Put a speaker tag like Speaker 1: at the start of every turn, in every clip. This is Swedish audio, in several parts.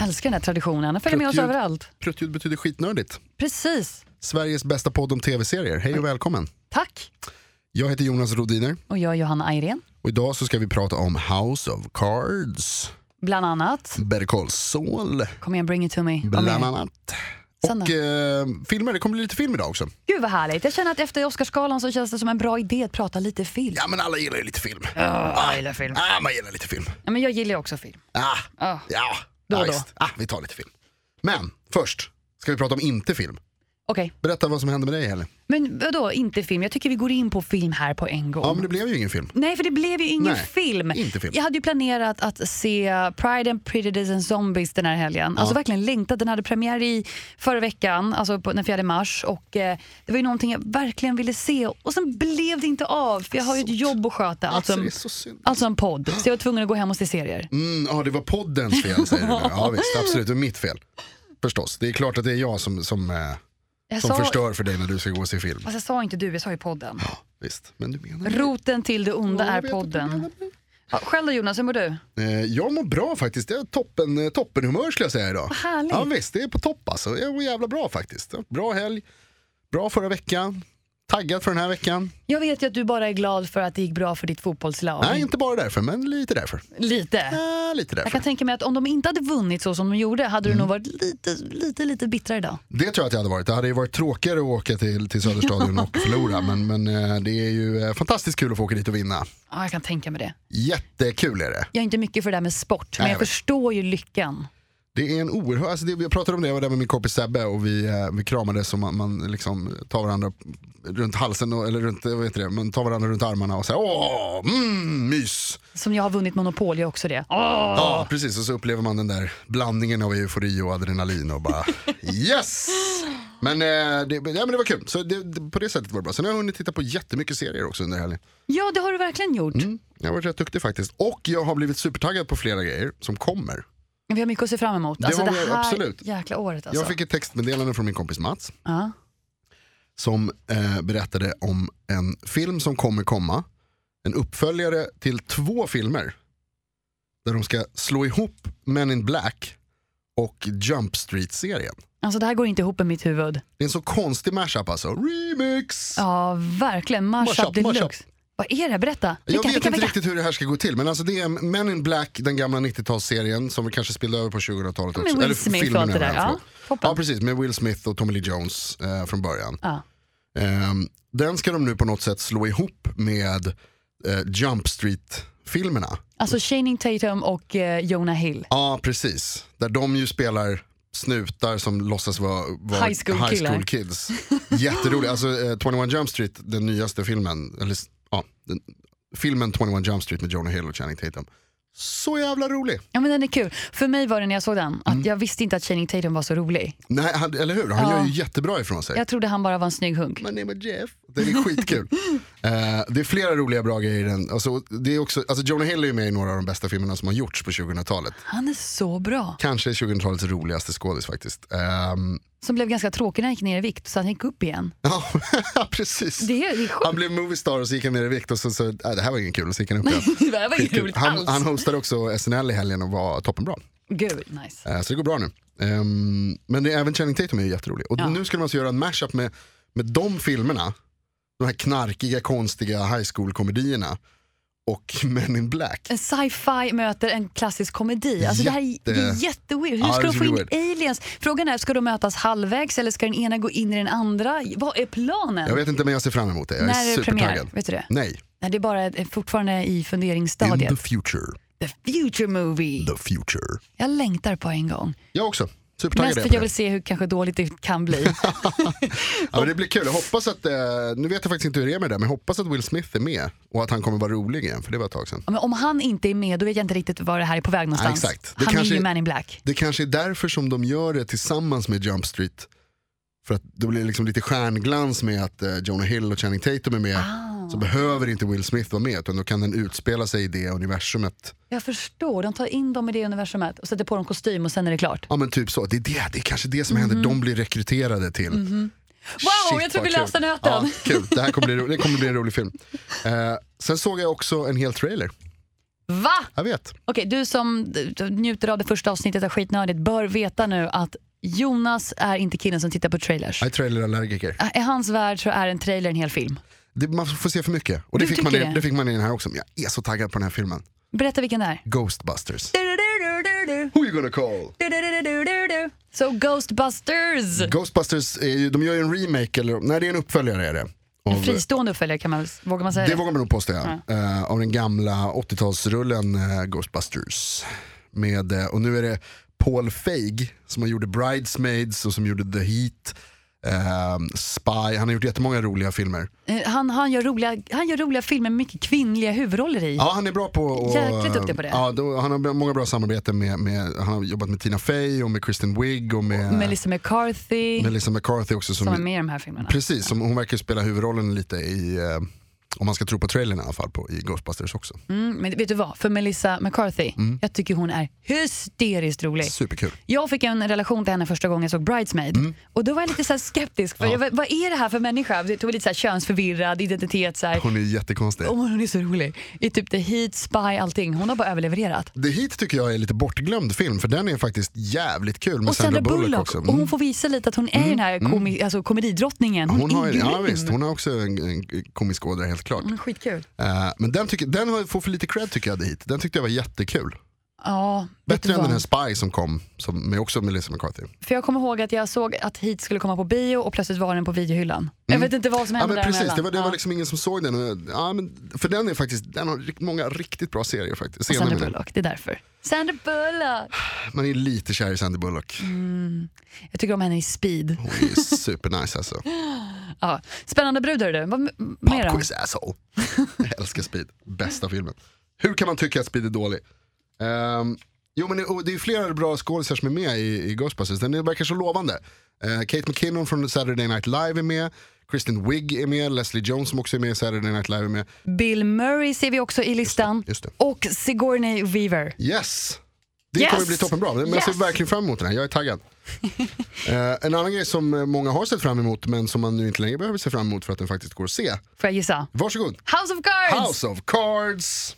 Speaker 1: älskar den här traditionen. Den följer med oss
Speaker 2: Pruttljud.
Speaker 1: överallt.
Speaker 2: Pruttljud betyder skitnördigt.
Speaker 1: Precis.
Speaker 2: Sveriges bästa podd om tv-serier. Hej och välkommen.
Speaker 1: Tack.
Speaker 2: Jag heter Jonas Rodiner
Speaker 1: Och jag är Johanna Ayrén,
Speaker 2: och idag så ska vi prata om House of Cards,
Speaker 1: bland annat.
Speaker 2: Better Call Saul,
Speaker 1: Kom igen, bring it to me. Vad
Speaker 2: bland
Speaker 1: mer?
Speaker 2: annat.
Speaker 1: Sen
Speaker 2: Och
Speaker 1: då?
Speaker 2: eh, filmer, det kommer bli lite film idag också.
Speaker 1: Gud vad härligt. Jag känner att efter Oscarsgalan så känns det som en bra idé att prata lite film.
Speaker 2: Ja men alla gillar ju lite film.
Speaker 1: Ja, jag gillar film.
Speaker 2: Ah, man gillar lite film.
Speaker 1: Ja, men jag gillar ju också film.
Speaker 2: Ah,
Speaker 1: Ja.
Speaker 2: ja,
Speaker 1: Då och
Speaker 2: ja,
Speaker 1: då.
Speaker 2: visst. Ah, vi tar lite film. Men först ska vi prata om inte film.
Speaker 1: Okej,
Speaker 2: Berätta vad som hände med dig Helle.
Speaker 1: men vadå inte film? Jag tycker vi går in på film här på en gång.
Speaker 2: Ja men det blev ju ingen film.
Speaker 1: Nej, för det blev ju ingen
Speaker 2: Nej,
Speaker 1: film.
Speaker 2: inte film.
Speaker 1: Jag hade ju planerat att se Pride and Prejudice and Zombies den här helgen. Alltså verkligen längtat. Den hade premiär i förra veckan, alltså på, den 4 mars. Och eh, Det var ju någonting jag verkligen ville se och sen blev det inte av. För jag har ju ett jobb att sköta, alltså,
Speaker 2: Alltså, det är
Speaker 1: en-
Speaker 2: så synd.
Speaker 1: alltså en podd. Så jag var tvungen att gå hem och se serier.
Speaker 2: Mm, ja, det var poddens fel säger du nu. Ja, visst, absolut. Det var mitt fel. Förstås. Det är klart att det är jag som, som, eh,
Speaker 1: Jag
Speaker 2: som
Speaker 1: sa,
Speaker 2: förstör för dig när du ska gå och se film.
Speaker 1: Fast jag sa inte du, jag sa ju podden.
Speaker 2: Ja, visst. Men du menar det.
Speaker 1: Roten till det onda
Speaker 2: Ja, jag
Speaker 1: är
Speaker 2: vet att du
Speaker 1: podden.
Speaker 2: menar det.
Speaker 1: Ja, själv då Jonas, hur mår du?
Speaker 2: Eh, Jag mår bra faktiskt. Jag är toppen, eh, toppenhumör skulle jag säga idag.
Speaker 1: Vad härligt.
Speaker 2: Ja visst, det är på topp alltså. Jag mår jävla bra faktiskt. Bra helg, bra förra veckan, taggad för den här veckan.
Speaker 1: Jag vet ju att du bara är glad för att det gick bra för ditt fotbollslag.
Speaker 2: Nej, inte bara därför, men lite därför.
Speaker 1: Lite.
Speaker 2: Ja, lite därför.
Speaker 1: Jag kan tänka mig att om de inte hade vunnit så som de gjorde hade du
Speaker 2: Mm.
Speaker 1: nog varit lite, lite, lite bittrare idag.
Speaker 2: Det tror jag att jag hade varit. Det hade ju varit tråkigare att åka till, till Söderstadion och förlora, men, men eh, det är ju eh, fantastiskt kul att få åka dit och vinna.
Speaker 1: Ja, jag kan tänka mig det.
Speaker 2: Jättekul är det.
Speaker 1: Jag är inte mycket för det där med sport, men
Speaker 2: Nej,
Speaker 1: jag
Speaker 2: jag vet.
Speaker 1: förstår ju lyckan.
Speaker 2: Det är en oerhörd, alltså det, jag pratade om det, jag var där med min kompis Sebbe och vi, eh, vi kramades och man, man liksom tar varandra runt halsen, och, eller runt, vad heter det, man tar varandra runt armarna och säger åh, mm, mys.
Speaker 1: Som jag har vunnit Monopol, jag också det.
Speaker 2: Ja, precis. Och så upplever man den där blandningen av eufori och adrenalin och bara yes! Men, eh, det, ja, men det var kul, så det, det, på det sättet var det bra. Sen har jag hunnit titta på jättemycket serier också under helgen.
Speaker 1: Ja, det har du verkligen gjort.
Speaker 2: Mm, jag har varit rätt duktig faktiskt. Och jag har blivit supertaggad på flera grejer som kommer.
Speaker 1: Vi har mycket att se fram emot.
Speaker 2: Det
Speaker 1: Alltså,
Speaker 2: har
Speaker 1: det
Speaker 2: vi,
Speaker 1: här
Speaker 2: absolut.
Speaker 1: jäkla året alltså.
Speaker 2: Jag fick ett textmeddelande från min kompis Mats.
Speaker 1: ja.
Speaker 2: som eh, berättade om en film som kommer komma. En uppföljare till två filmer. Där de ska slå ihop Men in Black och Jump Street-serien.
Speaker 1: alltså, det här går inte ihop i mitt huvud.
Speaker 2: Det är en så konstig mashup alltså. Remix!
Speaker 1: Ja, verkligen. Mashup
Speaker 2: Mashup,
Speaker 1: deluxe.
Speaker 2: mashup.
Speaker 1: Vad är det? Berätta.
Speaker 2: Jag
Speaker 1: Vilka,
Speaker 2: vet
Speaker 1: vilka,
Speaker 2: inte
Speaker 1: vilka?
Speaker 2: riktigt hur det här ska gå till men alltså det är Men in Black, den gamla 90-talsserien som vi kanske spillde över på 2000-talet
Speaker 1: Ja,
Speaker 2: också.
Speaker 1: Med Will Smith och
Speaker 2: filmen
Speaker 1: allt det
Speaker 2: över,
Speaker 1: där. Ja,
Speaker 2: förlåt.
Speaker 1: toppen.
Speaker 2: ja precis, med Will Smith och Tommy Lee Jones eh, från början.
Speaker 1: Ja.
Speaker 2: Ehm, den ska de nu på något sätt slå ihop med eh, Jump Street-filmerna.
Speaker 1: Alltså Channing Tatum och eh, Jonah Hill.
Speaker 2: Ja, precis. Där de ju spelar snutar som låtsas vara, vara
Speaker 1: High school killar.
Speaker 2: kids. Jätteroligt. Alltså eh, 21 Jump Street, den nyaste filmen, eller s- ja, den, filmen 21 Jump Street med Jonah Hill och Channing Tatum. Så jävla rolig.
Speaker 1: Ja, men den är kul. För mig var det när jag såg den, att
Speaker 2: Mm.
Speaker 1: jag visste inte att Channing Tatum var så rolig.
Speaker 2: Nej, han, eller hur? Han
Speaker 1: Ja.
Speaker 2: gör ju jättebra ifrån sig.
Speaker 1: Jag trodde han bara var en snygg hunk.
Speaker 2: My name is Jeff. Det är skitkul. Eh, det är flera roliga bra grejer i den. Alltså, det är också, alltså Jonah Hill är ju med i några av de bästa filmerna som har gjorts på 2000-talet.
Speaker 1: Han är så bra.
Speaker 2: Kanske 2000-talets roligaste skådis faktiskt. Ehm,
Speaker 1: Som blev ganska tråkig när han gick ner i vikt, så han gick upp igen.
Speaker 2: ja, precis.
Speaker 1: Det är, det är
Speaker 2: Han
Speaker 1: sjukt.
Speaker 2: blev moviestar och så gick han ner i vikt och så, så äh, det här var ingen kul och så gick han upp igen.
Speaker 1: det här var inget
Speaker 2: Skitkul.
Speaker 1: roligt
Speaker 2: han,
Speaker 1: alls.
Speaker 2: han hostade också SNL i helgen och var toppenbra.
Speaker 1: Gud, nice.
Speaker 2: Eh, Så det går bra nu. Ehm, Men det, även Channing Tatum är ju jätterolig. Och
Speaker 1: Ja.
Speaker 2: nu ska de alltså göra en mashup med, med de filmerna, de här knarkiga, konstiga high school-komedierna och Men in Black.
Speaker 1: En sci-fi möter en klassisk komedi. Alltså det här är- det är
Speaker 2: Jätte-
Speaker 1: jätteweird. Hur
Speaker 2: Ja,
Speaker 1: ska
Speaker 2: det
Speaker 1: de
Speaker 2: är
Speaker 1: få in
Speaker 2: weird.
Speaker 1: aliens? Frågan är, ska de mötas halvvägs eller ska den ena gå in i den andra? Vad är planen?
Speaker 2: Jag vet inte men jag ser fram emot det. Jag
Speaker 1: när
Speaker 2: är
Speaker 1: är det premiär?
Speaker 2: supertaggad.
Speaker 1: Vet du det?
Speaker 2: Nej,
Speaker 1: Nej, det är bara eh, fortfarande i
Speaker 2: in
Speaker 1: funderingsstadiet.
Speaker 2: the future.
Speaker 1: The future movie.
Speaker 2: The future.
Speaker 1: Jag längtar på en gång.
Speaker 2: Jag också. Supertaggad
Speaker 1: Mest
Speaker 2: är jag
Speaker 1: för att
Speaker 2: på
Speaker 1: jag
Speaker 2: det.
Speaker 1: vill se hur kanske dåligt det kan bli.
Speaker 2: Ja, men det blir kul. Jag hoppas att, eh, nu vet jag faktiskt inte hur det är med det där, men jag hoppas att Will Smith är med och att han kommer vara rolig igen, för det var ett tag sedan.
Speaker 1: Ja, Men om han inte är med då vet jag inte riktigt var det här är på väg någonstans.
Speaker 2: Ja, exakt. Det
Speaker 1: han
Speaker 2: kanske-
Speaker 1: är ju man in black.
Speaker 2: Det kanske är därför som de gör det tillsammans med Jump Street. För att det blir liksom lite stjärnglans med att eh, Jonah Hill och Channing Tatum är med.
Speaker 1: Ah.
Speaker 2: Så behöver inte Will Smith vara med utan då kan den utspela sig i det universumet.
Speaker 1: Jag förstår, de tar in dem i det universumet och sätter på dem kostym och sen är det klart.
Speaker 2: Ja men typ så, det är, det, det är kanske det som händer, de blir rekryterade till.
Speaker 1: Mhm. Wow, jag tror
Speaker 2: vad
Speaker 1: vi
Speaker 2: kul.
Speaker 1: löste nöten.
Speaker 2: Ja, kul, det här kommer bli, ro- det kommer bli en rolig film. Eh, sen såg jag också en hel trailer.
Speaker 1: Va?
Speaker 2: Jag vet.
Speaker 1: Okej, du som d- d- njuter av det första avsnittet av Skitnödigt bör veta nu att Jonas är inte killen som tittar på trailers.
Speaker 2: Jag är trailerallergiker.
Speaker 1: I hans värld så är en trailer en hel film.
Speaker 2: Det, man får se för mycket. Och det
Speaker 1: Du
Speaker 2: fick, man i,
Speaker 1: tycker det?
Speaker 2: det fick man i den här också. Men jag är så taggad på den här filmen.
Speaker 1: Berätta vilken det är.
Speaker 2: Ghostbusters. Who you gonna call? Mm.
Speaker 1: So Ghostbusters!
Speaker 2: Ghostbusters, är ju, de gör ju en remake, eller nej det är en uppföljare är det.
Speaker 1: En fristående uppföljare, kan man, väl- vågar man säga
Speaker 2: Det
Speaker 1: det?
Speaker 2: vågar man nog påstå, ja. Eh, av den gamla 80-talsrullen eh, Ghostbusters. Med, eh, och nu är det Paul Feig som gjorde Bridesmaids och som gjorde The Heat, eh, Spy, han har gjort jättemånga roliga filmer.
Speaker 1: Eh, Han, han, gör roliga, han gör roliga filmer med mycket kvinnliga huvudroller i.
Speaker 2: Ja, han är bra på att...
Speaker 1: Jäkligt duktig på det.
Speaker 2: Ja, då, han har många bra samarbeten med, med, han har jobbat med Tina Fey och med Kristen Wiig och med
Speaker 1: Melissa McCarthy,
Speaker 2: Melissa McCarthy också. Som,
Speaker 1: som är med i de här filmerna.
Speaker 2: Precis, som, hon verkar ju spela huvudrollen lite i, eh, om man ska tro på trailern i alla fall, på, i Ghostbusters också.
Speaker 1: Mm, men vet du vad, för Melissa McCarthy,
Speaker 2: Mm.
Speaker 1: jag tycker hon är hysteriskt rolig.
Speaker 2: Superkul.
Speaker 1: Jag fick en relation till henne första gången jag såg Bridesmaid.
Speaker 2: Mm.
Speaker 1: Och då var jag lite så här skeptisk. För jag, var- vad är det här för människa? Det tog lite så här könsförvirrad identitet. Så här.
Speaker 2: Hon är jättekonstig.
Speaker 1: Oh, hon är så rolig. I typ The Heat, Spy, allting. Hon har bara överlevererat.
Speaker 2: The Heat tycker jag är lite bortglömd film för den är faktiskt jävligt kul med
Speaker 1: Och Sandra Bullock,
Speaker 2: också.
Speaker 1: och
Speaker 2: Mm.
Speaker 1: hon får visa lite att hon är den här komi- alltså, komedidrottningen. Hon,
Speaker 2: Hon har,
Speaker 1: är
Speaker 2: ju-
Speaker 1: grym.
Speaker 2: ja, visst, hon har också en, en komisk ådra helt klart.
Speaker 1: Hon är skitkul.
Speaker 2: Eh, men den, tycker, den har- får för lite cred tycker jag The Heat. Den tyckte jag var jättekul.
Speaker 1: Ja, vet du
Speaker 2: Bättre än
Speaker 1: vad?
Speaker 2: den här Spy som kom, som, med också Melissa McCarthy.
Speaker 1: För jag kommer ihåg att jag såg att Heat skulle komma på bio och plötsligt var den på videohyllan. Jag vet inte vad
Speaker 2: Mm.
Speaker 1: som
Speaker 2: Ja,
Speaker 1: hände
Speaker 2: men precis,
Speaker 1: däremellan.
Speaker 2: det var, det
Speaker 1: Ja.
Speaker 2: var liksom ingen som såg den. Och, ja, men, för den är faktiskt, den har rikt- många riktigt bra serier faktiskt.
Speaker 1: Och
Speaker 2: Scener
Speaker 1: Sandra
Speaker 2: med den.
Speaker 1: Bullock, det är därför. Sandra Bullock!
Speaker 2: Man är lite kär i Sandy Bullock.
Speaker 1: Mm. Jag tycker om henne i Speed.
Speaker 2: Hon är ju supernice alltså.
Speaker 1: Ja. Spännande brud hörru du. Vad m- mer då?
Speaker 2: Popquiz asshole. Jag älskar Speed, bästa filmen. Hur kan man tycka att Speed är dålig? Ehm, jo men det, och det är flera bra skådisar som är med i, i Ghostbusters, den verkar så lovande. Eh, Kate McKinnon från Saturday Night Live är med, Kristen Wiig är med, Leslie Jones som också är med i Saturday Night Live är med.
Speaker 1: Bill Murray ser vi också i listan.
Speaker 2: Just det.
Speaker 1: Och Sigourney Weaver.
Speaker 2: Yes! Det
Speaker 1: Yes!
Speaker 2: kommer bli toppenbra, men jag ser
Speaker 1: Yes!
Speaker 2: verkligen fram emot den här, jag är taggad. Eh, en annan grej som eh, många har sett fram emot men som man nu inte längre behöver se fram emot för att den faktiskt går att se.
Speaker 1: Får jag gissa?
Speaker 2: Varsågod!
Speaker 1: House of Cards!
Speaker 2: House of Cards!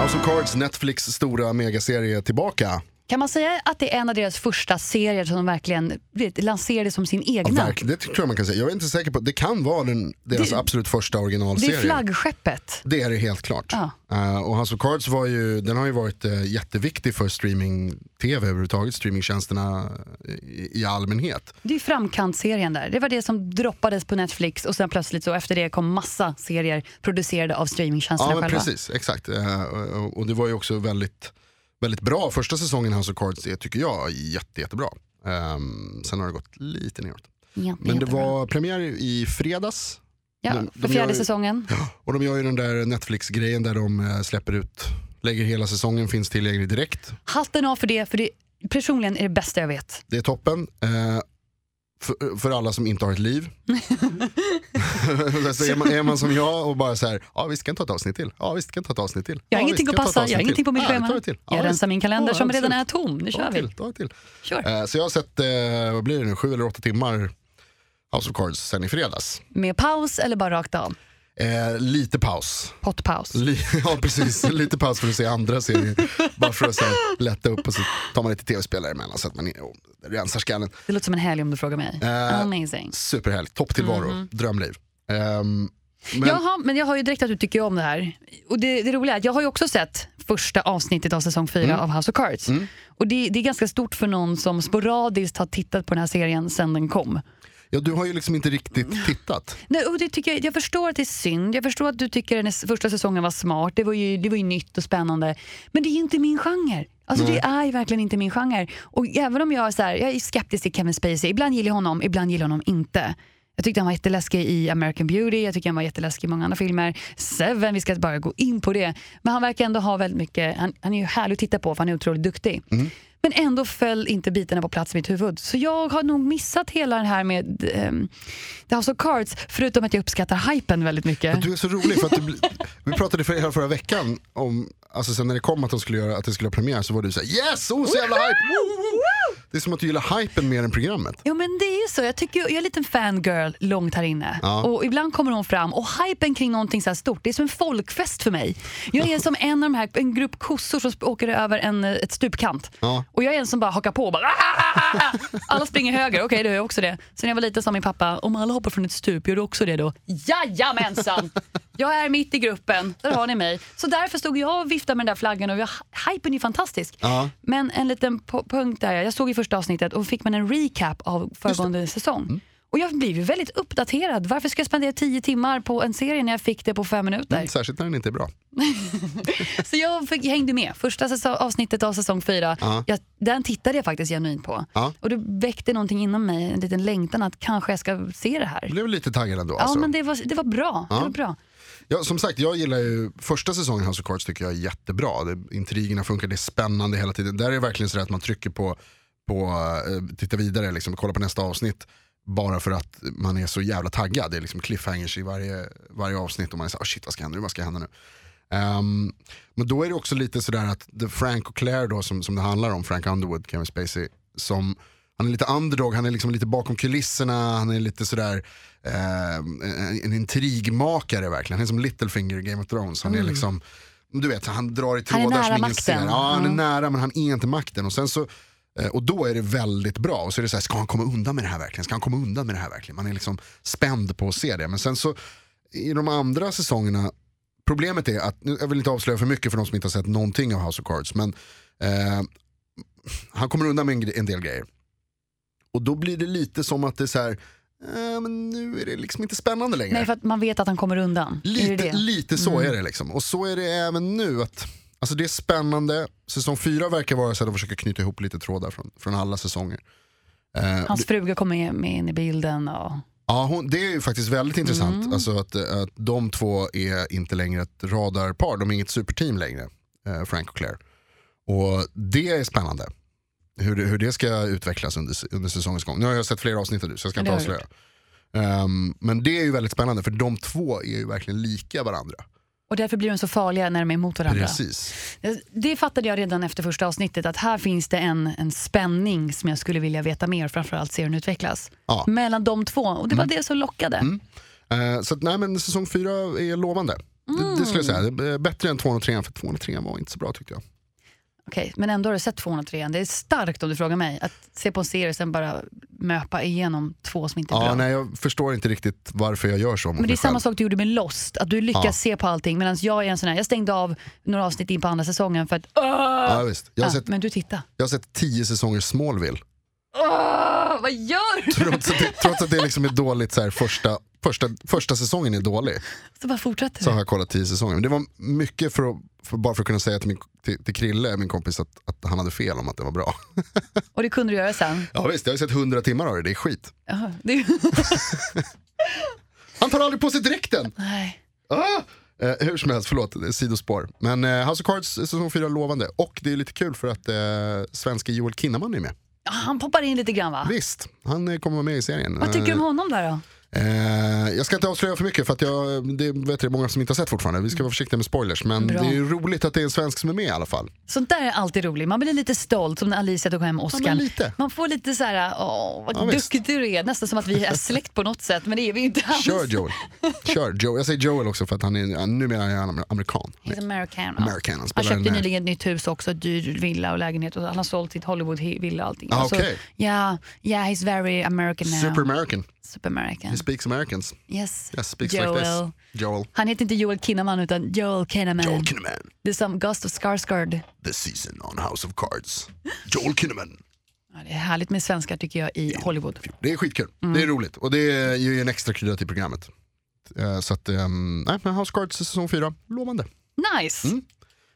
Speaker 2: House of Cards, Netflix stora megaserie tillbaka.
Speaker 1: Kan man säga att det är en av deras första serier som de verkligen vet, lanserade som sin
Speaker 2: Ja,
Speaker 1: egna?
Speaker 2: verkligen, det tror jag man kan säga. Jag är inte säker på, det kan vara den, deras
Speaker 1: Det-
Speaker 2: absolut första
Speaker 1: det
Speaker 2: originalserie.
Speaker 1: är flaggskeppet.
Speaker 2: Det är det helt klart.
Speaker 1: Ja.
Speaker 2: Eh, och House of Cards var ju, den har ju varit eh, jätteviktig för streaming-tv överhuvudtaget, streamingtjänsterna i, i allmänhet.
Speaker 1: Det är framkantserien där. Det var det som droppades på Netflix och sen plötsligt så efter det kom massa serier producerade av streamingtjänsterna
Speaker 2: Ja men
Speaker 1: själva.
Speaker 2: precis, exakt. Eh, och- och det var ju också väldigt, väldigt bra. Första säsongen House of Cards är, tycker jag, jätte, jättebra. Um, sen har det gått lite neråt.
Speaker 1: Jätte,
Speaker 2: Men det
Speaker 1: jättebra.
Speaker 2: var premiär i fredags.
Speaker 1: ja,
Speaker 2: de- de
Speaker 1: för fjärde
Speaker 2: gör ju-
Speaker 1: säsongen.
Speaker 2: Och de gör ju den där Netflix-grejen där de eh, släpper ut, lägger hela säsongen, finns tillgänglig direkt.
Speaker 1: Hatten av för det, för det personligen är det bästa jag vet.
Speaker 2: Det är toppen. Eh, för, för alla som inte har ett liv. så är, man, är man som jag och bara så här, ja visst kan jag ta ett avsnitt till. Ja visst kan jag ta ett avsnitt till.
Speaker 1: Jag har
Speaker 2: ja,
Speaker 1: ingenting
Speaker 2: visst, kan
Speaker 1: att
Speaker 2: ta ett
Speaker 1: passa, jag har
Speaker 2: avsnitt
Speaker 1: ingenting på mitt
Speaker 2: till. Ja,
Speaker 1: schema.
Speaker 2: jag tar ett till. Ja,
Speaker 1: jag
Speaker 2: visst.
Speaker 1: rensar min kalender
Speaker 2: Ja,
Speaker 1: som redan
Speaker 2: absolut.
Speaker 1: är tom. Nu
Speaker 2: Ta
Speaker 1: kör
Speaker 2: ett
Speaker 1: vi.
Speaker 2: till, ta ett till.
Speaker 1: Kör.
Speaker 2: Eh, Så jag har sett, eh, vad blir det nu, sju eller åtta timmar House of Cards sen i fredags.
Speaker 1: Med paus eller bara rakt av?
Speaker 2: Eh, lite paus.
Speaker 1: Pottpaus.
Speaker 2: Li- ja precis, lite paus för att se andra serier. Bara för att så här, lätta upp och så tar man lite tv-spelare emellan så att man är- och rensar skallen.
Speaker 1: Det låter som en helg om du frågar mig.
Speaker 2: Eh,
Speaker 1: Amazing.
Speaker 2: Superhärligt, topptillvaro, drömliv. Ehm, men,
Speaker 1: Jaha, men jag har ju direkt att du tycker om det här. Och det, det roliga är att jag har ju också sett första avsnittet av säsong 4 av House of Cards. Och det, det är ganska stort för någon som sporadiskt har tittat på den här serien sedan den kom.
Speaker 2: ja, du har ju liksom inte riktigt tittat.
Speaker 1: Nej, och det tycker jag, jag förstår att det är synd, jag förstår att du tycker den s- första säsongen var smart, det var, ju, det var ju nytt och spännande. Men det är ju inte min genre. Alltså det är ju verkligen inte min genre. Och även om jag är, så här, jag är skeptisk till Kevin Spacey, ibland gillar jag honom, ibland gillar jag honom inte. Jag tyckte han var jätteläskig i American Beauty, jag tycker han var jätteläskig i många andra filmer. Seven, vi ska bara gå in på det. Men han verkar ändå ha väldigt mycket, han, han är ju härlig att titta på för han är otroligt duktig.
Speaker 2: Mm.
Speaker 1: Men ändå föll inte bitarna på plats i mitt huvud. Så jag har nog missat hela den här med ehm, The House of Cards, förutom att jag uppskattar hypen väldigt mycket.
Speaker 2: Du är så rolig för att du, bli- vi pratade för, här förra veckan om, alltså sen när det kom att de skulle göra, att det skulle ha premiär så var du såhär yes, oh så jävla hype!
Speaker 1: Woo!
Speaker 2: Det är som att du gillar hypen mer än programmet.
Speaker 1: Jo men det är ju så, jag, tycker, ju- jag är en liten fangirl långt här inne.
Speaker 2: Ja.
Speaker 1: Och ibland kommer hon fram och hypen kring någonting så här stort, det är som en folkfest för mig. Jag är som en av de här, en grupp kossor som sp- åker över en, eh, ett stupkant.
Speaker 2: Ja.
Speaker 1: Och jag är en som bara hakar på och bara "Ah!" Alla springer höger, okej då är jag också det. Sen när jag var liten sa min pappa, om alla hoppar från ett stup, gör du också det då? Jajamensan! Jag är mitt i gruppen, där har ni mig. Så därför stod jag och viftade med den där flaggan och jag, hypen är ju fantastisk.
Speaker 2: Ja.
Speaker 1: Men en liten po- punkt där. Jag såg i första avsnittet och fick man en recap av föregående säsong. Och jag blev ju väldigt uppdaterad. Varför ska jag spendera tio timmar på en serie när jag fick det på fem minuter?
Speaker 2: Särskilt när den inte är bra.
Speaker 1: Så Alltså, jag, fick, jag hängde med. Första säsong, avsnittet av säsong fyra,
Speaker 2: Ja.
Speaker 1: jag, den tittade jag faktiskt genuint på.
Speaker 2: Ja.
Speaker 1: Och det väckte någonting inom mig, en liten längtan att kanske jag ska se det här.
Speaker 2: Jag blev lite taggad ändå.
Speaker 1: Ja,
Speaker 2: alltså.
Speaker 1: men det var, det var bra. Det var bra.
Speaker 2: Ja, som sagt, jag gillar ju första säsongen House of Cards tycker jag är jättebra. Det, intrigerna funkar, det är spännande hela tiden. Där är det verkligen så att man trycker på, på eh, titta vidare, liksom, kolla på nästa avsnitt. Bara för att man är så jävla taggad. Det är liksom cliffhangers i varje, varje avsnitt och man är såhär, oh shit vad ska hända nu, vad ska hända nu? Ehm, men då är det också lite sådär att det- Frank och Claire då som, som det handlar om, Frank Underwood, Kevin Spacey, som han är lite underdog, han är liksom lite bakom kulisserna, han är lite sådär eh, en, en intrigmakare verkligen. Han är som Littlefinger i Game of Thrones. Han är liksom, du vet, han drar i
Speaker 1: Mm. Han är
Speaker 2: trådar som
Speaker 1: nära
Speaker 2: ingen ser.
Speaker 1: makten.
Speaker 2: Ja, han är
Speaker 1: Mm.
Speaker 2: nära men han är inte makten. Och sen så eh, och då är det väldigt bra. Och så är det så här, ska han komma undan med det här verkligen? Ska han komma undan med det här verkligen? Man är liksom spänd på att se det. Men sen så, i de andra säsongerna, problemet är att, nu, jag vill inte avslöja för mycket för de som inte har sett någonting av House of Cards, men eh, han kommer undan med en, gre- en del grejer. Och då blir det lite som att det är så här, eh, men nu är det liksom inte spännande längre.
Speaker 1: Nej, för att man vet att han kommer undan.
Speaker 2: Lite,
Speaker 1: är det det?
Speaker 2: lite så är det liksom. Och så är det även nu. att Alltså det är spännande. Säsong fyra verkar vara så att de försöker knyta ihop lite trådar från, från alla säsonger. Eh,
Speaker 1: Hans fruga kommer med in i bilden. Och...
Speaker 2: ja, hon, det är ju faktiskt väldigt intressant.
Speaker 1: Mm.
Speaker 2: Alltså att, eh, att de två är inte längre ett radarpar. De är inget superteam längre, eh, Frank och Claire. Och det är spännande. Hur det, hur det ska utvecklas under, under säsongens gång. Nu har jag sett flera avsnitt nu så jag ska inte
Speaker 1: Ja, det har du
Speaker 2: avslöja. Ehm, men det är ju väldigt spännande för de två är ju verkligen lika varandra.
Speaker 1: Och därför blir de så farliga när de är emot varandra. Eh,
Speaker 2: Precis.
Speaker 1: Det fattade jag redan efter första avsnittet, att här finns det en, en spänning som jag skulle vilja veta mer, framförallt se hur den utvecklas.
Speaker 2: Ja. Mm.
Speaker 1: Mellan de två, och det var det som lockade.
Speaker 2: Eh, Så att, nej, men säsong fyra är lovande. Det, det skulle jag
Speaker 1: Mm.
Speaker 2: säga. Det är Bättre än 203 för 203 var inte så bra tyckte jag.
Speaker 1: Okej, men ändå har du sett 203 Det är starkt om du frågar mig, att se på en serie och sen bara möpa igenom två som inte är
Speaker 2: Ja,
Speaker 1: bra.
Speaker 2: nej, jag förstår inte riktigt varför jag gör så mot
Speaker 1: Men det är
Speaker 2: mig
Speaker 1: samma
Speaker 2: själv.
Speaker 1: sak du gjorde med Lost, att du lyckas
Speaker 2: Ja.
Speaker 1: se på allting medan jag är en sån här, jag stängde av några avsnitt in på andra säsongen för att Åh!
Speaker 2: Ja, visst. Jag, har
Speaker 1: Ah,
Speaker 2: sett,
Speaker 1: Men du titta.
Speaker 2: jag har sett tio säsonger Smallville.
Speaker 1: Åh, vad gör du?
Speaker 2: Trots att det, trots att det liksom är dåligt, så här, första, första, första säsongen är dålig,
Speaker 1: Så bara fortsätter
Speaker 2: så
Speaker 1: du.
Speaker 2: har jag kollat tio säsonger. Men det var mycket för att, för, bara för att kunna säga till, min, till, till Krille, min kompis, att, att han hade fel om att det var bra.
Speaker 1: Och det kunde du göra sen.
Speaker 2: Ja visst, jag har ju sett hundra timmar av det, det är skit.
Speaker 1: Jaha, det...
Speaker 2: Han tar aldrig på sig dräkten!
Speaker 1: Nej.
Speaker 2: Ah! Eh, hur som helst, förlåt, det är sidospår. Men eh, House of Cards säsong 4 är lovande. Och det är lite kul för att eh, svenska Joel Kinnaman är med.
Speaker 1: Ja, Han poppar in lite grann va?
Speaker 2: Visst, han eh, kommer vara med i serien.
Speaker 1: Vad tycker du om honom där då?
Speaker 2: Eh, jag ska inte avslöja för mycket för att jag, det vet jag, är många som inte har sett fortfarande. Vi ska vara försiktiga med spoilers. Men
Speaker 1: Bra.
Speaker 2: det är ju roligt att det är en svensk som är med i alla fall.
Speaker 1: Sånt där är alltid roligt. Man blir lite stolt som när Alicia tog hem
Speaker 2: Ja,
Speaker 1: Oscar.
Speaker 2: men lite.
Speaker 1: Man får lite så här, åh vad
Speaker 2: Ja, visst.
Speaker 1: duktig du är. Nästan som att vi är släkt på något sätt, men det är vi inte alls.
Speaker 2: Kör Joel. Kör Joel. Jag säger Joel också för att han är, numera är han amerikan.
Speaker 1: He's American. ja.
Speaker 2: American, han
Speaker 1: Han
Speaker 2: spelar
Speaker 1: köpte
Speaker 2: en, eh,
Speaker 1: nyligen ett nytt hus också, dyr villa och lägenhet. Och han har sålt sitt Hollywood-villa och allting.
Speaker 2: Ah,
Speaker 1: Alltså,
Speaker 2: okej.
Speaker 1: yeah, yeah, he's very American now.
Speaker 2: super American.
Speaker 1: Super American.
Speaker 2: He speaks Americans.
Speaker 1: Yes.
Speaker 2: Yes, speaks
Speaker 1: Joel. Mm.
Speaker 2: like this. Joel.
Speaker 1: Han heter inte Joel Kinnaman utan Joel Kinnaman.
Speaker 2: Joel Kinnaman.
Speaker 1: Det är som Gustav Skarsgård.
Speaker 2: this season on House of Cards. Joel Kinnaman.
Speaker 1: Ja, det är härligt med svenskar tycker jag i Hollywood.
Speaker 2: Det är skitkul, det
Speaker 1: Mm.
Speaker 2: är roligt och det ger ju en extra krydda till programmet. Eh, Så att, ehm, nej men House of Cards säsong 4, lovande.
Speaker 1: Nice!
Speaker 2: Mm.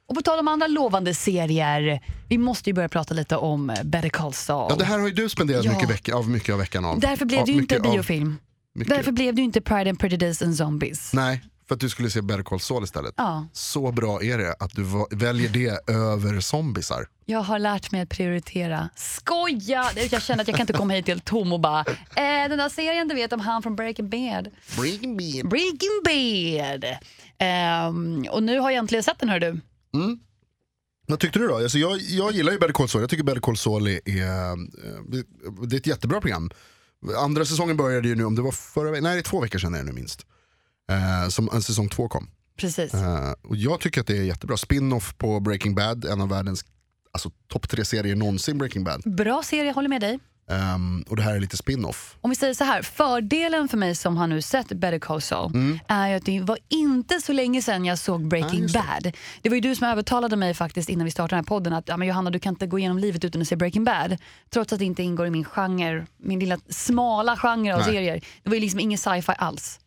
Speaker 1: Och på tal om andra lovande serier, vi måste ju börja prata lite om eh, Better Call Saul.
Speaker 2: Ja, det här har ju du spenderat
Speaker 1: Ja.
Speaker 2: mycket, vecka, av, mycket av veckan av.
Speaker 1: Därför blev
Speaker 2: av,
Speaker 1: det ju inte
Speaker 2: mycket av-
Speaker 1: biofilm.
Speaker 2: mycket.
Speaker 1: Därför blev det ju inte Pride and Prejudice and Zombies.
Speaker 2: Nej, för att du skulle se Better Call Saul istället.
Speaker 1: Ja,
Speaker 2: Så bra är det att du va- väljer det över zombisar.
Speaker 1: jag har lärt mig att prioritera. Skoja! Det är- Jag känner att jag kan inte komma hit helt tom och bara eh, “den där serien du vet om han från Breaking Bad”.
Speaker 2: Bring me.
Speaker 1: Breaking Bad! Ehm, och nu har jag äntligen sett den hör du.
Speaker 2: Vad tyckte du då? Alltså jag, jag gillar ju Better Call Saul. Jag tycker Better Call Saul är, är, eh, det är ett jättebra program. Andra säsongen började ju nu, om det var förra veckan, nej det är två veckor sedan är det nu minst. Eh, som en säsong två kom.
Speaker 1: Precis.
Speaker 2: Eh, och jag tycker att det är jättebra. Spin-off på Breaking Bad, en av världens alltså, topp tre serier någonsin Breaking Bad.
Speaker 1: Bra serie, jag håller med dig.
Speaker 2: Ehm, och det här är lite spin-off.
Speaker 1: Om vi säger så här, fördelen för mig som har nu sett Better Call Saul är ju att det var inte så länge sedan jag såg Breaking Bad. Det var ju du som övertalade mig faktiskt innan vi startade den här podden att ja, men Johanna du kan inte gå igenom livet utan att se Breaking Bad. Trots att det inte ingår i min genre, min lilla smala genre av
Speaker 2: Nej.
Speaker 1: serier. Det var ju liksom ingen sci-fi alls.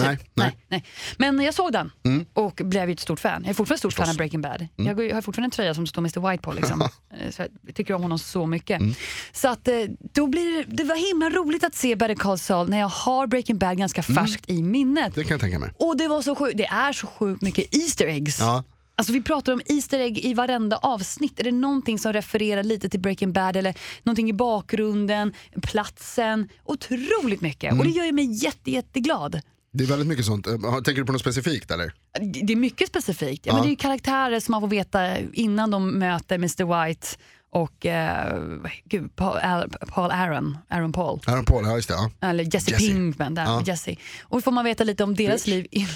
Speaker 2: Nej, nej. Mm.
Speaker 1: Nej, nej. Men jag såg den och blev ju ett stort fan. Jag är fortfarande ett stort fan av Breaking Bad. Jag går ju- har fortfarande en tröja som det står Mr White på. Liksom. Eh, så jag tycker om honom så mycket.
Speaker 2: Mm.
Speaker 1: Så att, eh, då blir det, det var himla roligt att se Better Call Saul när jag har Breaking Bad ganska
Speaker 2: Mm.
Speaker 1: färskt i minnet.
Speaker 2: det kan jag tänka mig.
Speaker 1: Och det, var så sjukt, det är så sjukt mycket Easter eggs.
Speaker 2: Ja.
Speaker 1: Alltså vi pratar om Easter egg i varenda avsnitt. Är det någonting som refererar lite till Breaking Bad eller någonting i bakgrunden, platsen. Otroligt mycket.
Speaker 2: Mm.
Speaker 1: Och det gör ju mig jätte, jätteglad.
Speaker 2: Det är väldigt mycket sånt. Eh, Tänker du på något specifikt eller?
Speaker 1: Det det är mycket specifikt. Ja. Men det är ju karaktärer som man får veta innan de möter Mr White och eh, gud, Paul, Al, Paul Aaron, Aaron Paul.
Speaker 2: Aaron Paul, ja just det. Ja.
Speaker 1: Eller Jesse,
Speaker 2: Jesse.
Speaker 1: Pinkman, där,
Speaker 2: Ja.
Speaker 1: Jesse. Och får man veta lite om deras liv in-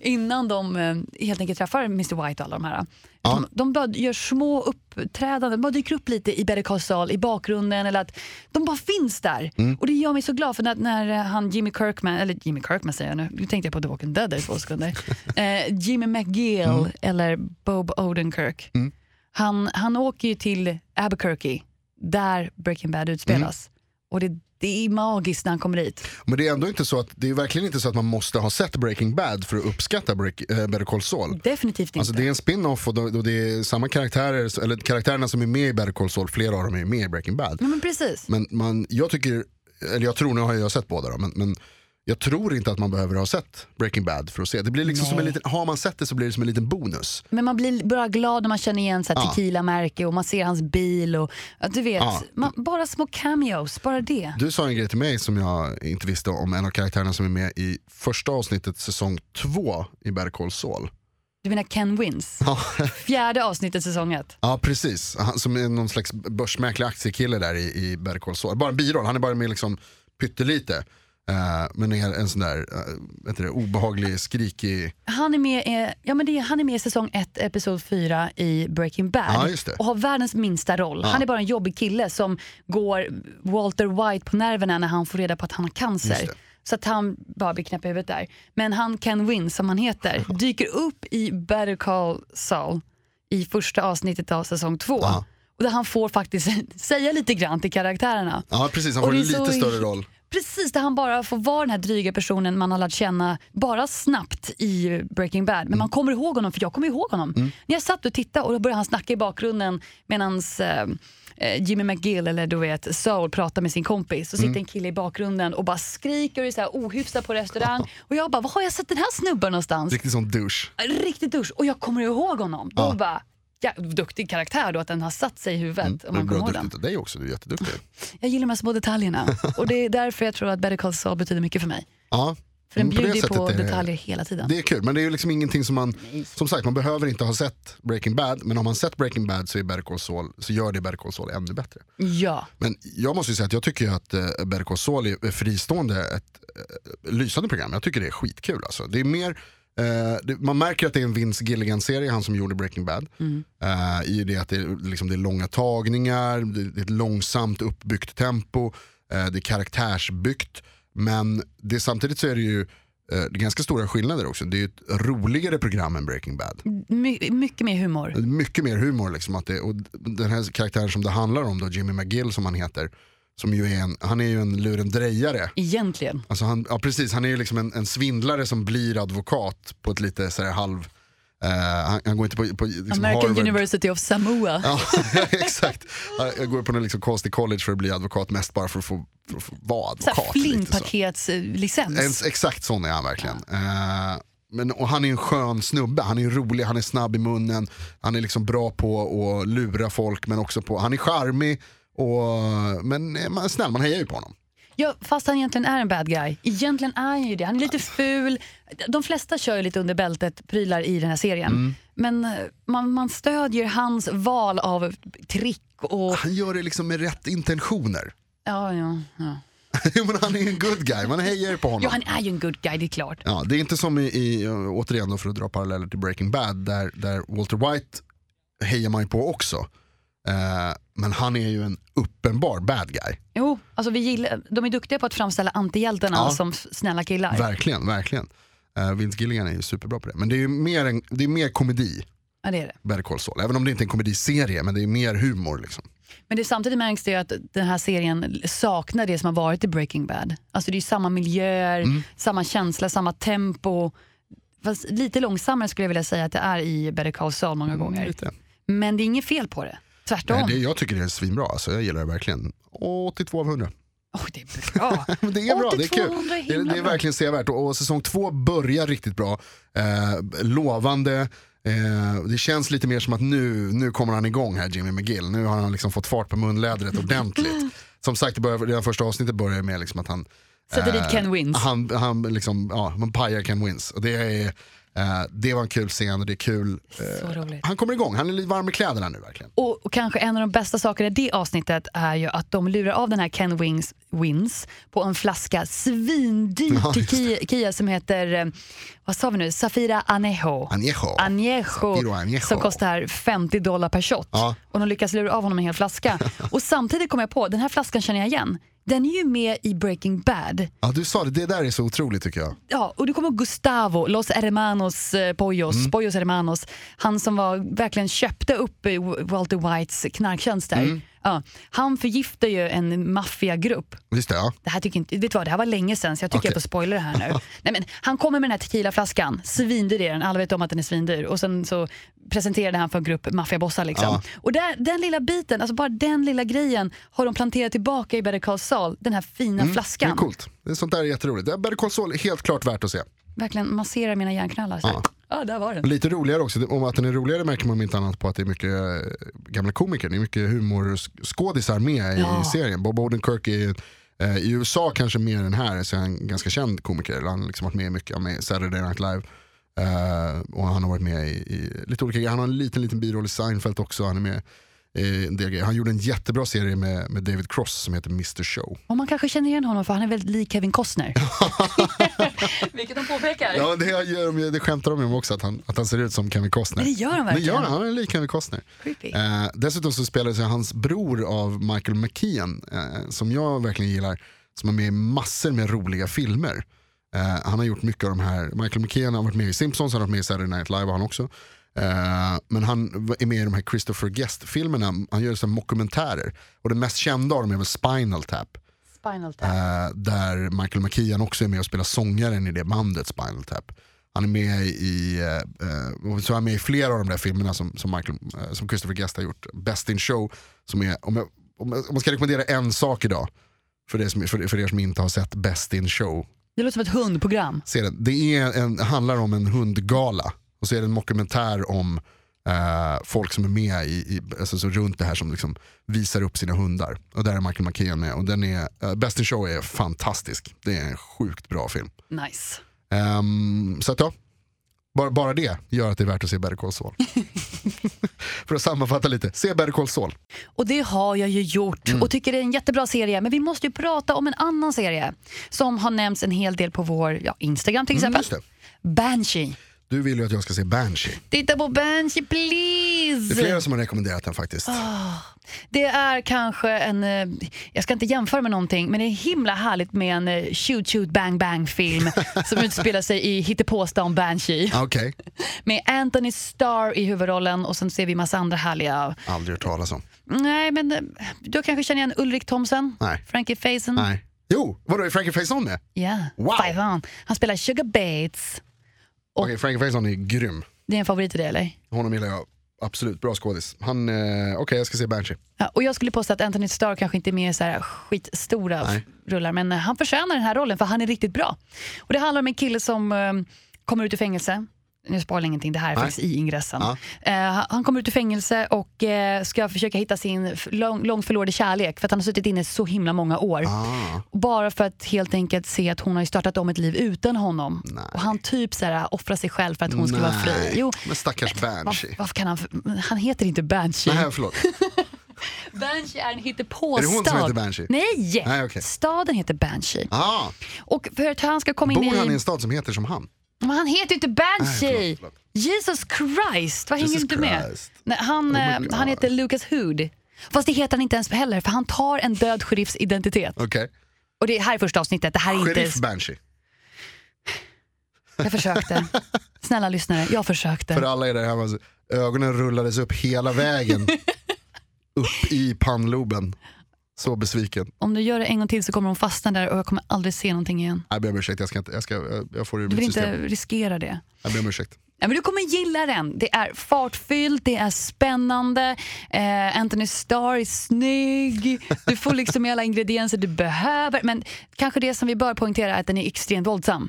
Speaker 1: innan de eh, helt enkelt träffar Mr White och alla de här. De, de bara gör små uppträdanden, de bara dyker upp lite i Better Call Saul, i bakgrunden eller att de bara finns där. Och det gör mig så glad för när, när eh, han Jimmy Kirkman, eller Jimmy Kirkman säger jag nu, nu tänkte jag på The Walking Dead där i två sekunder. Eh, Jimmy McGill eller Bob Odenkirk. Han, han åker ju till Albuquerque där Breaking Bad utspelas.
Speaker 2: Mm.
Speaker 1: Och det, det är magiskt när han kommer dit.
Speaker 2: Men det är ändå inte så att, det är verkligen inte så att man måste ha sett Breaking Bad för att uppskatta Break, eh, Better Call Saul.
Speaker 1: Definitivt inte.
Speaker 2: Alltså det är en spin-off och då- då det är samma karaktärer, eller karaktärerna som är med i Better Call Saul, flera av dem är med i Breaking Bad.
Speaker 1: Nej, men precis.
Speaker 2: Men man, jag tycker, eller jag tror, nu har jag sett båda då, men, men jag tror inte att man behöver ha sett Breaking Bad för att se. Det blir liksom som en liten, har man sett det så blir det som en liten bonus.
Speaker 1: Men man blir bara glad när man känner igen så här
Speaker 2: Ja.
Speaker 1: tequila-märke och man ser hans bil. Och, ja, du vet,
Speaker 2: Ja.
Speaker 1: man, bara små cameos, bara det.
Speaker 2: Du sa en grej till mig som jag inte visste om en av karaktärerna som är med i första avsnittet säsong två i Better Call Saul.
Speaker 1: Du menar Ken Wins?
Speaker 2: Ja.
Speaker 1: Fjärde avsnittet säsong ett.
Speaker 2: Ja precis, han som är någon slags börsmäklig aktiekille där i, i Better Call Saul. Bara en biroll, han är bara med liksom pyttelite. Eh, men är en sån där eh, vet du, det, obehaglig, skrikig,
Speaker 1: Han är med, eh, ja, men det är, han är med i säsong 1, episod 4 i Breaking Bad.
Speaker 2: Ja, just det.
Speaker 1: Och har världens minsta roll. Han är bara en jobbig kille som går Walter White på nerverna när han får reda på att han har
Speaker 2: Just
Speaker 1: cancer.
Speaker 2: det.
Speaker 1: Så att han bara blir knäpp i huvudet där. Men han Ken Win, som han heter, dyker upp i Better Call Saul i första avsnittet av säsong 2.
Speaker 2: Ja.
Speaker 1: Och där han får faktiskt säga lite grann till karaktärerna.
Speaker 2: ja precis han
Speaker 1: Och
Speaker 2: får en
Speaker 1: det är
Speaker 2: lite
Speaker 1: så-
Speaker 2: större roll.
Speaker 1: Precis, där han bara får vara den här dryga personen man har lärt känna bara snabbt i Breaking Bad. Men man kommer ihåg honom, för jag kommer ihåg honom. När jag satt och tittade och då började han snacka i bakgrunden medan eh, Jimmy McGill eller du vet Saul pratar med sin kompis. Så sitter en kille i bakgrunden och bara skriker och är så här ohyfsad på restaurang. Och jag bara, var har jag sett den här snubben någonstans?
Speaker 2: Riktigt sån douche.
Speaker 1: Riktigt dusch. Och jag kommer ihåg honom. Då bara, ja, duktig karaktär då att den har satt sig i huvudet. Om
Speaker 2: Det är
Speaker 1: man kommer
Speaker 2: Mm. bra
Speaker 1: ihåg den.
Speaker 2: duktigt av dig också, du är jätteduktig.
Speaker 1: Jag gillar de här små detaljerna och det är därför jag tror att Better Call Saul betyder mycket för mig.
Speaker 2: ja.
Speaker 1: För den
Speaker 2: men Mm, på det
Speaker 1: bjuder ju på,
Speaker 2: sättet eh, är det-
Speaker 1: detaljer hela tiden.
Speaker 2: Det är kul, men det är ju liksom ingenting som man, som sagt man behöver inte ha sett Breaking Bad, men om man sett Breaking Bad så, är Better Call Saul, så gör det Better Call Saul ännu bättre.
Speaker 1: Ja,
Speaker 2: Men jag måste ju säga att jag tycker ju att eh, Better Call Saul är fristående ett eh, lysande program. Jag tycker det är skitkul alltså. Det är mer, eh, det, man märker att det är en Vince Gilligan-serie, han som gjorde Breaking Bad. Eh, I det att det, är liksom, det är långa tagningar, det, det är ett långsamt uppbyggt tempo, eh, det är karaktärsbyggt. Men det, samtidigt så är det ju eh, det är ganska stora skillnader också. Det är ju ett roligare program än Breaking Bad.
Speaker 1: My- mycket mer humor.
Speaker 2: Mycket mer humor. Liksom, att det, och den här karaktären som det handlar om, då, Jimmy McGill som han heter, som ju är en, han är ju en lurendrejare.
Speaker 1: Egentligen.
Speaker 2: Alltså han, ja, precis, han är ju liksom en, en svindlare som blir advokat på ett lite så här, halv... Eh, han, han går inte på, på liksom
Speaker 1: American
Speaker 2: Harvard.
Speaker 1: University of Samoa.
Speaker 2: Ja, exakt. Han- Jag går på någon liksom konstig college för att bli advokat, mest bara för att få, för att få vara
Speaker 1: Så här
Speaker 2: advokat. lite så.
Speaker 1: Flingpaketslicens.
Speaker 2: En, exakt sån är han verkligen. Eh, men, och han är en skön snubbe, han är rolig, han är snabb i munnen, han är liksom bra på att lura folk men också på, han är charmig och, men eh, man, snäll man hejar ju på honom.
Speaker 1: Ja, fast han egentligen är en bad guy.
Speaker 2: Mm.
Speaker 1: Egentligen är han ju det. Han är lite ful. De flesta kör ju lite under bältet prylar i den här serien. men eh, man, man stödjer hans val av trick och...
Speaker 2: Han gör det liksom med rätt intentioner.
Speaker 1: Ja, ja, ja.
Speaker 2: Jo, men han är en good guy, man hejar på honom.
Speaker 1: Jo, han är ju en good guy, det är klart.
Speaker 2: Ja, det är inte som i, i återigen då för att dra paralleller till Breaking Bad, där, där Walter White hejar man ju på också. Eh, men han är ju en uppenbar bad guy.
Speaker 1: Jo, alltså vi gillar, de är duktiga på att framställa antihjältarna
Speaker 2: Ja.
Speaker 1: som s- snälla killar.
Speaker 2: Verkligen, verkligen. Uh, Vince Gilligan är ju superbra på det. Men det är ju mer, en, det är mer komedi,
Speaker 1: ja, det är det.
Speaker 2: Better Call Saul. Även om det inte är en komediserie, men det är mer humor. Liksom.
Speaker 1: Men det, samtidigt märks det ju att den här serien saknar det som har varit i Breaking Bad. Alltså det är ju samma miljöer,
Speaker 2: Mm.
Speaker 1: samma känsla, samma tempo. Fast lite långsammare skulle jag vilja säga att det är i Better Call Saul många gånger.
Speaker 2: Mm, lite.
Speaker 1: Men det är inget fel på det. Tvärtom.
Speaker 2: Nej, Eh, det, jag tycker det är svinbra, alltså, jag gillar det verkligen. 82 av 100.
Speaker 1: Oj, det är bra.
Speaker 2: Men det är bra, det är
Speaker 1: 82
Speaker 2: kul.
Speaker 1: hundra är
Speaker 2: Det är,
Speaker 1: himla
Speaker 2: det är
Speaker 1: bra.
Speaker 2: verkligen sevärt och, och säsong två börjar riktigt bra. Eh, lovande. Eh, det känns lite mer som att nu, nu kommer han igång här Jimmy McGill. Nu har han liksom fått fart på munlädret ordentligt. som sagt, det börjar, redan första avsnittet börjar med liksom att han
Speaker 1: Sätter dit
Speaker 2: eh,
Speaker 1: Ken Wins.
Speaker 2: Han, han liksom, ja, man pajar Ken Wins. Och det, är, eh, det var en kul scen och det är kul.
Speaker 1: Så roligt.
Speaker 2: Han kommer igång, han är lite varm i kläderna nu verkligen.
Speaker 1: Och, och kanske en av de bästa sakerna i det avsnittet är ju att de lurar av den här Ken Wings Wins på en flaska svindyr
Speaker 2: Ja, just
Speaker 1: tequila kia som heter, eh, vad sa vi nu, Safira Anejo.
Speaker 2: Anejo.
Speaker 1: Anejo,
Speaker 2: Safiro Anejo.
Speaker 1: som kostar 50 dollar per shot.
Speaker 2: Ja.
Speaker 1: Och de lyckas lura av honom en hel flaska. och samtidigt kom jag på, den här flaskan känner jag igen. Den är ju med i Breaking Bad.
Speaker 2: Ja, du sa det, det där är så otroligt tycker jag.
Speaker 1: Ja, och du kommer ihåg Gustavo, Los Hermanos eh, Pollos,
Speaker 2: Mm.
Speaker 1: Pollos Hermanos. Han som var, verkligen köpte upp eh, Walter Whites knarktjänster.
Speaker 2: Mm.
Speaker 1: Ja, han förgiftar ju en maffiagrupp.
Speaker 2: Visst det, ja.
Speaker 1: Det här tycker inte, vet du vad, det här var länge sedan så jag tycker
Speaker 2: Okej.
Speaker 1: jag får spoila det här nu. Nej, men, han kommer med den här tequilaflaskan, svindyr är den, alla vet om att den är svindyr. Och sen så presenterade han för en grupp maffiabossar. Liksom.
Speaker 2: Ja.
Speaker 1: Och där, den lilla biten, alltså bara den lilla grejen har de planterat tillbaka i Better Call Saul, den här fina
Speaker 2: Mm, Det
Speaker 1: flaskan.
Speaker 2: är coolt. Det är sånt där är jätteroligt. Det här Better Call Saul är helt klart värt att se.
Speaker 1: Verkligen masserar mina hjärnknallar. Så här. Ja, där var den.
Speaker 2: Och Lite roligare också, om att den är roligare märker man om inte annat på att det är mycket eh, gamla komiker, det är mycket humorskådisar med i
Speaker 1: Ja.
Speaker 2: serien. Bob Odenkirk är eh, i USA kanske mer än här, så är han en ganska känd komiker. Eller Han har liksom varit med i mycket, med Saturday Night Live. eh, och han har varit med i, i lite olika grejer. Han har en liten, liten biroll i Seinfeld också. Han är med i en del grejer. Han gjorde en jättebra serie med, med David Cross som heter Mr Show.
Speaker 1: Och man kanske känner igen honom för han är väldigt lik Kevin Costner. Vilket de påpekar.
Speaker 2: Ja, men det, gör de, ju- det skämtar de ju om också, att han, att han ser ut som Kevin Costner.
Speaker 1: Men det gör han
Speaker 2: Men
Speaker 1: verkligen.
Speaker 2: gör han, han är lik Kevin Costner.
Speaker 1: Creepy.
Speaker 2: Eh, dessutom så spelades ju hans bror av Michael McKean, eh, som jag verkligen gillar, som är med i massor med roliga filmer. Eh, han har gjort mycket av de här, Michael McKean har varit med i Simpsons, han har varit med i Saturday Night Live han också. Eh, men han v- är med i de här Christopher Guest-filmerna, han gör så här mockumentärer. Och den mest kända av dem är väl Spinal Tap.
Speaker 1: Spinal Tap.
Speaker 2: Eh, där Michael McKean också är med och spelar sångaren i det bandet Spinal Tap. Han är med i, eh, eh, och så är han med i flera av de där filmerna som, som, Michael, eh, som Christopher Guest har gjort. Best in show, som är, om, jag, om, jag, om man ska rekommendera en sak idag, för, det som, för, för er som inte har sett Best in show,
Speaker 1: Det låter som ett hundprogram.
Speaker 2: se den. Det är en, handlar om en hundgala och så är det en dokumentär om eh, folk som är med i, i, alltså, så runt det här som liksom visar upp sina hundar. Och där är Michael McKean med och den är, eh, Best in Show är fantastisk. Det är en sjukt bra film.
Speaker 1: Nice.
Speaker 2: Ehm, så att ja, bara, bara det gör att det är värt att se Better Call Saul. För att sammanfatta lite, se Better Call Saul.
Speaker 1: Och det har jag ju gjort och tycker det är en jättebra serie. Men vi måste ju prata om en annan serie som har nämnts en hel del på vår ja, Instagram till exempel.
Speaker 2: Mm, Just det.
Speaker 1: Banshee.
Speaker 2: Du vill ju att jag ska se Banshee.
Speaker 1: Titta på Banshee please!
Speaker 2: Det är flera som har rekommenderat den faktiskt.
Speaker 1: Det är kanske en, eh, jag ska inte jämföra med någonting, men det är himla härligt med en eh, shoot shoot bang bang film som utspelar sig i hittepåstan Banshee.
Speaker 2: Ah, Okej,
Speaker 1: Med Anthony Starr i huvudrollen och sen ser vi massa andra härliga...
Speaker 2: aldrig hört talas om.
Speaker 1: Nej, men eh, du kanske känner igen Ulrik Thomsen?
Speaker 2: Nej.
Speaker 1: Frankie Faison?
Speaker 2: Nej. Mm. Jo, vadå är Frankie Faison med?
Speaker 1: Ja,
Speaker 2: Wow.
Speaker 1: Faison. Han spelar Sugar Bates.
Speaker 2: Okej, Frankie Faison är grym.
Speaker 1: Det är en favorit i dig, eller?
Speaker 2: Honom gillar jag absolut, bra skådis. Han, eh, okej jag ska se Banshee.
Speaker 1: Ja, och jag skulle påstå att Anthony Starr kanske inte är med i så här skitstora
Speaker 2: Nej.
Speaker 1: f- rullar, men eh, han förtjänar den här rollen för han är riktigt bra. Och Det handlar om en kille som eh, kommer ut ur fängelse, nu sparar jag ingenting, det här är
Speaker 2: Nej.
Speaker 1: faktiskt i ingressen.
Speaker 2: Ja.
Speaker 1: Eh, han kommer ut ur fängelse och eh, ska försöka hitta sin f- lång, långt förlorade kärlek för att han har suttit inne så himla många år.
Speaker 2: Ah,
Speaker 1: Bara för att helt enkelt se att hon har ju startat om ett liv utan honom.
Speaker 2: Nej.
Speaker 1: Och han typ så här, offrar sig själv för att hon ska vara fri.
Speaker 2: nej.
Speaker 1: Jo,
Speaker 2: Men stackars
Speaker 1: varför,
Speaker 2: Banshee.
Speaker 1: varför kan han, för- han heter inte Banshee.
Speaker 2: Nej, förlåt.
Speaker 1: Banshee är en
Speaker 2: Är det hon som heter
Speaker 1: hittepåstad.
Speaker 2: Banshee?
Speaker 1: Nej!
Speaker 2: Nej, okej.
Speaker 1: Staden heter Banshee.
Speaker 2: Ah,
Speaker 1: Och för att han ska komma in
Speaker 2: bor han i
Speaker 1: i...
Speaker 2: en stad som heter som han?
Speaker 1: Men han heter ju inte Banshee!
Speaker 2: Nej, förlåt, förlåt.
Speaker 1: Jesus Christ, vad hänger du
Speaker 2: Jesus
Speaker 1: inte med?
Speaker 2: Christ. Oh
Speaker 1: Nej, han,
Speaker 2: my
Speaker 1: eh,
Speaker 2: God.
Speaker 1: han heter Lucas Hood. Fast det heter han inte ens heller, för han tar en död sheriffs identitet.
Speaker 2: Okej.
Speaker 1: Och det här är första avsnittet, det här är inte...
Speaker 2: Sheriff Banshee.
Speaker 1: Jag försökte. Snälla lyssnare, jag
Speaker 2: För
Speaker 1: försökte.
Speaker 2: alla er där hemma, så- ögonen rullades upp hela vägen. upp i pannloben. Så besviken.
Speaker 1: Om du gör det en gång till så kommer de fastna där och jag kommer aldrig se någonting igen.
Speaker 2: Jag ber om ursäkt, jag, ska inte, jag, ska, jag- jag får det ur
Speaker 1: Du
Speaker 2: mitt
Speaker 1: vill
Speaker 2: system.
Speaker 1: inte riskera det.
Speaker 2: Jag ber om ursäkt.
Speaker 1: Ja, men du kommer gilla den. Det är fartfyllt, det är spännande, eh, Anthony Starr är snygg. Du får liksom alla ingredienser du behöver. Men kanske det som vi bör poängtera är att den är extremt våldsam.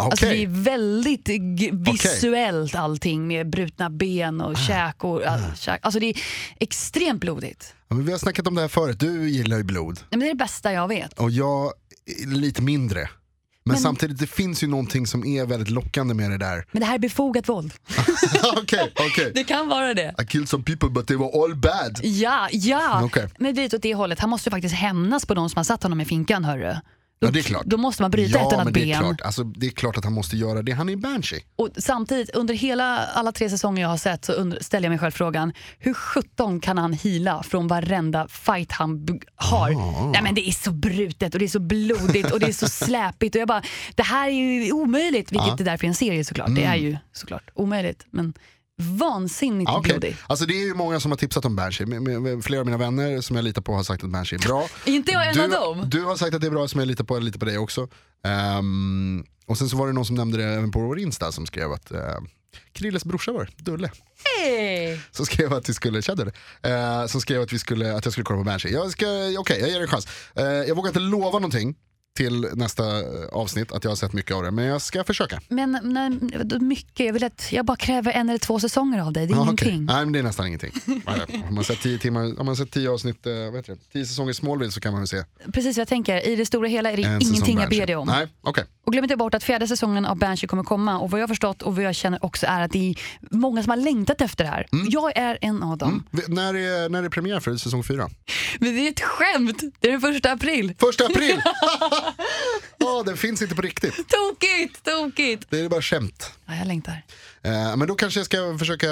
Speaker 2: Okej,
Speaker 1: Alltså det är väldigt g- visuellt allting med brutna ben
Speaker 2: Ah.
Speaker 1: och käk. Och, all, käk. Alltså det är extremt blodigt.
Speaker 2: ja, men vi har snackat om det här förut. Du gillar ju blod.
Speaker 1: Ja, men det är det bästa jag vet.
Speaker 2: Och jag är lite mindre. Men,
Speaker 1: Men-
Speaker 2: samtidigt, det finns ju någonting som är väldigt lockande med det där.
Speaker 1: Men det här är befogat våld.
Speaker 2: Okej, okej.
Speaker 1: Det kan vara det.
Speaker 2: I killed some people but they were all bad.
Speaker 1: Ja, ja.
Speaker 2: Okej.
Speaker 1: Men lite åt det hållet. Han måste ju faktiskt hämnas på de som har satt honom i finkan, hörru. Då,
Speaker 2: Ja, det är klart.
Speaker 1: då måste man bryta ett
Speaker 2: Ja,
Speaker 1: annat
Speaker 2: men det är,
Speaker 1: ben.
Speaker 2: klart. Alltså, det är klart att han måste göra det. Han är en banshee.
Speaker 1: Och samtidigt, under hela, alla tre säsonger jag har sett så und- ställer jag mig själv frågan, hur sjutton kan han hila från varenda fight han b- har? Nej men det är så brutet och det är så blodigt och det är så släpigt och jag bara, det här är ju omöjligt, vilket det är därför är en serie såklart. Det
Speaker 2: Mm.
Speaker 1: är ju såklart omöjligt, men vansinnigt
Speaker 2: Ah, okej.
Speaker 1: blodig.
Speaker 2: Alltså, det är ju många som har tipsat om banshee. Men- men- men Flera av mina vänner som jag litar på har sagt att banshee är bra.
Speaker 1: Inte jag en
Speaker 2: du,
Speaker 1: av dem.
Speaker 2: du har sagt att det är bra som jag litar på, jag litar på dig också. Ehm, och sen så var det någon som nämnde det även på vår Insta som skrev att ehm, Krilles brorsa var det, Dulle.
Speaker 1: Hey.
Speaker 2: som skrev att vi skulle, tja Dulle, eh, som skrev att, vi skulle, att jag skulle kolla på Banshee. Jag ska, okej, jag ger det en chans. Eh, jag vågar inte lova någonting till nästa eh, avsnitt, att jag har sett mycket av det, men jag ska försöka.
Speaker 1: Men nej, då mycket, jag, vill att, jag bara kräver en eller två säsonger av dig, det är
Speaker 2: Ja, okej.
Speaker 1: ingenting.
Speaker 2: Nej, men det är nästan ingenting. Om man sett tio, timmar, om man har sett tio avsnitt, eh, vad heter det? tio säsonger Smallville så kan man väl se
Speaker 1: Precis vad jag tänker, i det stora hela är det
Speaker 2: en säsong
Speaker 1: ingenting jag
Speaker 2: Banshee.
Speaker 1: ber dig om.
Speaker 2: Nej, okej.
Speaker 1: Och glöm inte bort att fjärde säsongen av Banshee kommer komma och vad jag har förstått och vad jag känner också är att det är många som har längtat efter det här. Jag är en av dem.
Speaker 2: V- När är, när är premiär för säsong fyra?
Speaker 1: Mm. Men det är ett skämt! Det är den första april.
Speaker 2: Första april! Ja, den finns inte på riktigt.
Speaker 1: Tokigt, tokigt!
Speaker 2: Det är bara skämt.
Speaker 1: Ja, jag längtar.
Speaker 2: Eh, men då kanske jag ska försöka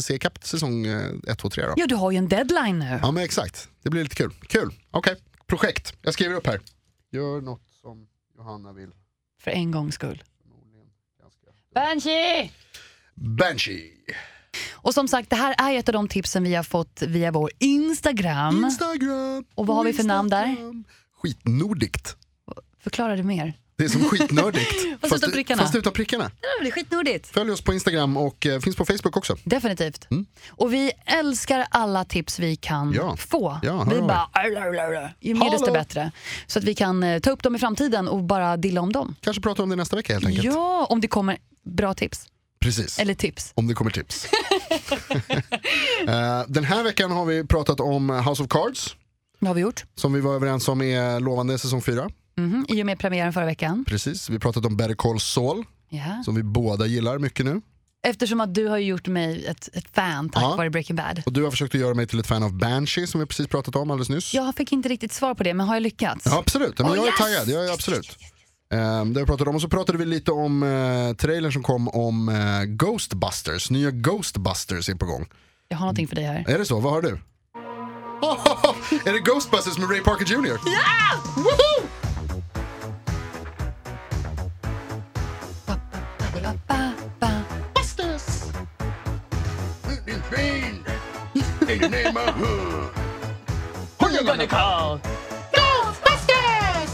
Speaker 2: se kapp säsong eh, 1, 2, 3 då.
Speaker 1: Ja, du har ju en deadline nu.
Speaker 2: Ja men exakt, det blir lite kul. Kul, okej. Projekt, jag skriver upp här. Gör något som Johanna vill.
Speaker 1: För en gångs skull. Banshee!
Speaker 2: Banshee!
Speaker 1: Och som sagt, det här är ett av de tipsen vi har fått via vår Instagram.
Speaker 2: Instagram!
Speaker 1: Och vad har vi för namn där?
Speaker 2: Instagram. Skitnordigt.
Speaker 1: Förklara det mer.
Speaker 2: Det är som skitnördigt.
Speaker 1: Fast utan prickarna.
Speaker 2: Fast utan prickarna.
Speaker 1: Det är skitnordigt.
Speaker 2: Följ oss på Instagram och eh, finns på Facebook också.
Speaker 1: Definitivt. Och vi älskar alla tips vi kan
Speaker 2: Mm. Ja.
Speaker 1: få.
Speaker 2: Ja, hör
Speaker 1: vi
Speaker 2: av er.
Speaker 1: bara, "Arr, arr, arr, arr." ju mer desto
Speaker 2: Hallå.
Speaker 1: bättre. Så att vi kan eh, ta upp dem i framtiden och bara dilla om dem.
Speaker 2: Kanske prata om det nästa vecka helt enkelt.
Speaker 1: Ja, om det kommer bra tips.
Speaker 2: Precis.
Speaker 1: Eller tips.
Speaker 2: Om det kommer tips. Eh, Den här veckan har vi pratat om House of Cards,
Speaker 1: Vad har vi gjort?
Speaker 2: som vi var överens om är lovande säsong 4.
Speaker 1: Mhm, I och med premiären förra veckan.
Speaker 2: Precis. Vi har pratat om Better Call Saul,
Speaker 1: Ja.
Speaker 2: som vi båda gillar mycket nu.
Speaker 1: Eftersom att du har ju gjort mig ett, ett fan tack
Speaker 2: Ja.
Speaker 1: vare Breaking Bad.
Speaker 2: Och du har försökt att göra mig till ett fan av Banshee som vi precis pratat om alldeles nyss.
Speaker 1: Jag fick inte riktigt svar på det, men har jag lyckats?
Speaker 2: Ja, absolut, men
Speaker 1: Oh,
Speaker 2: jag är
Speaker 1: yes!
Speaker 2: taggad. Jag är absolut. Ehm, det har vi pratat om. Och så pratade vi lite om eh, trailern som kom om eh, Ghostbusters. Nya Ghostbusters är på gång.
Speaker 1: Jag har någonting för dig här.
Speaker 2: Är det så? Vad har du? är det Ghostbusters med Ray Parker Jr? Woho!
Speaker 1: Ba, ba, ba.
Speaker 2: Busters! With this rain in the neighborhood. Who you gonna call? Ghostbusters!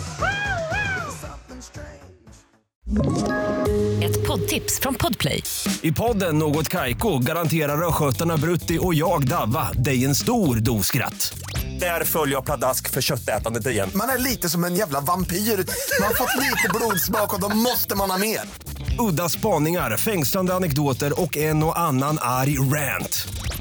Speaker 3: Ett poddtips från Podplay.
Speaker 4: I podden Något Kaiko garanterar östgötarna Brutti och jag, Davva, dig en stor dos skratt. Där följer jag pladask för köttätandet igen.
Speaker 5: Man är lite som en jävla vampyr. Man har fått lite blodsmak och då måste man ha mer.
Speaker 4: Udda spaningar, fängslande anekdoter och en och annan arg rant.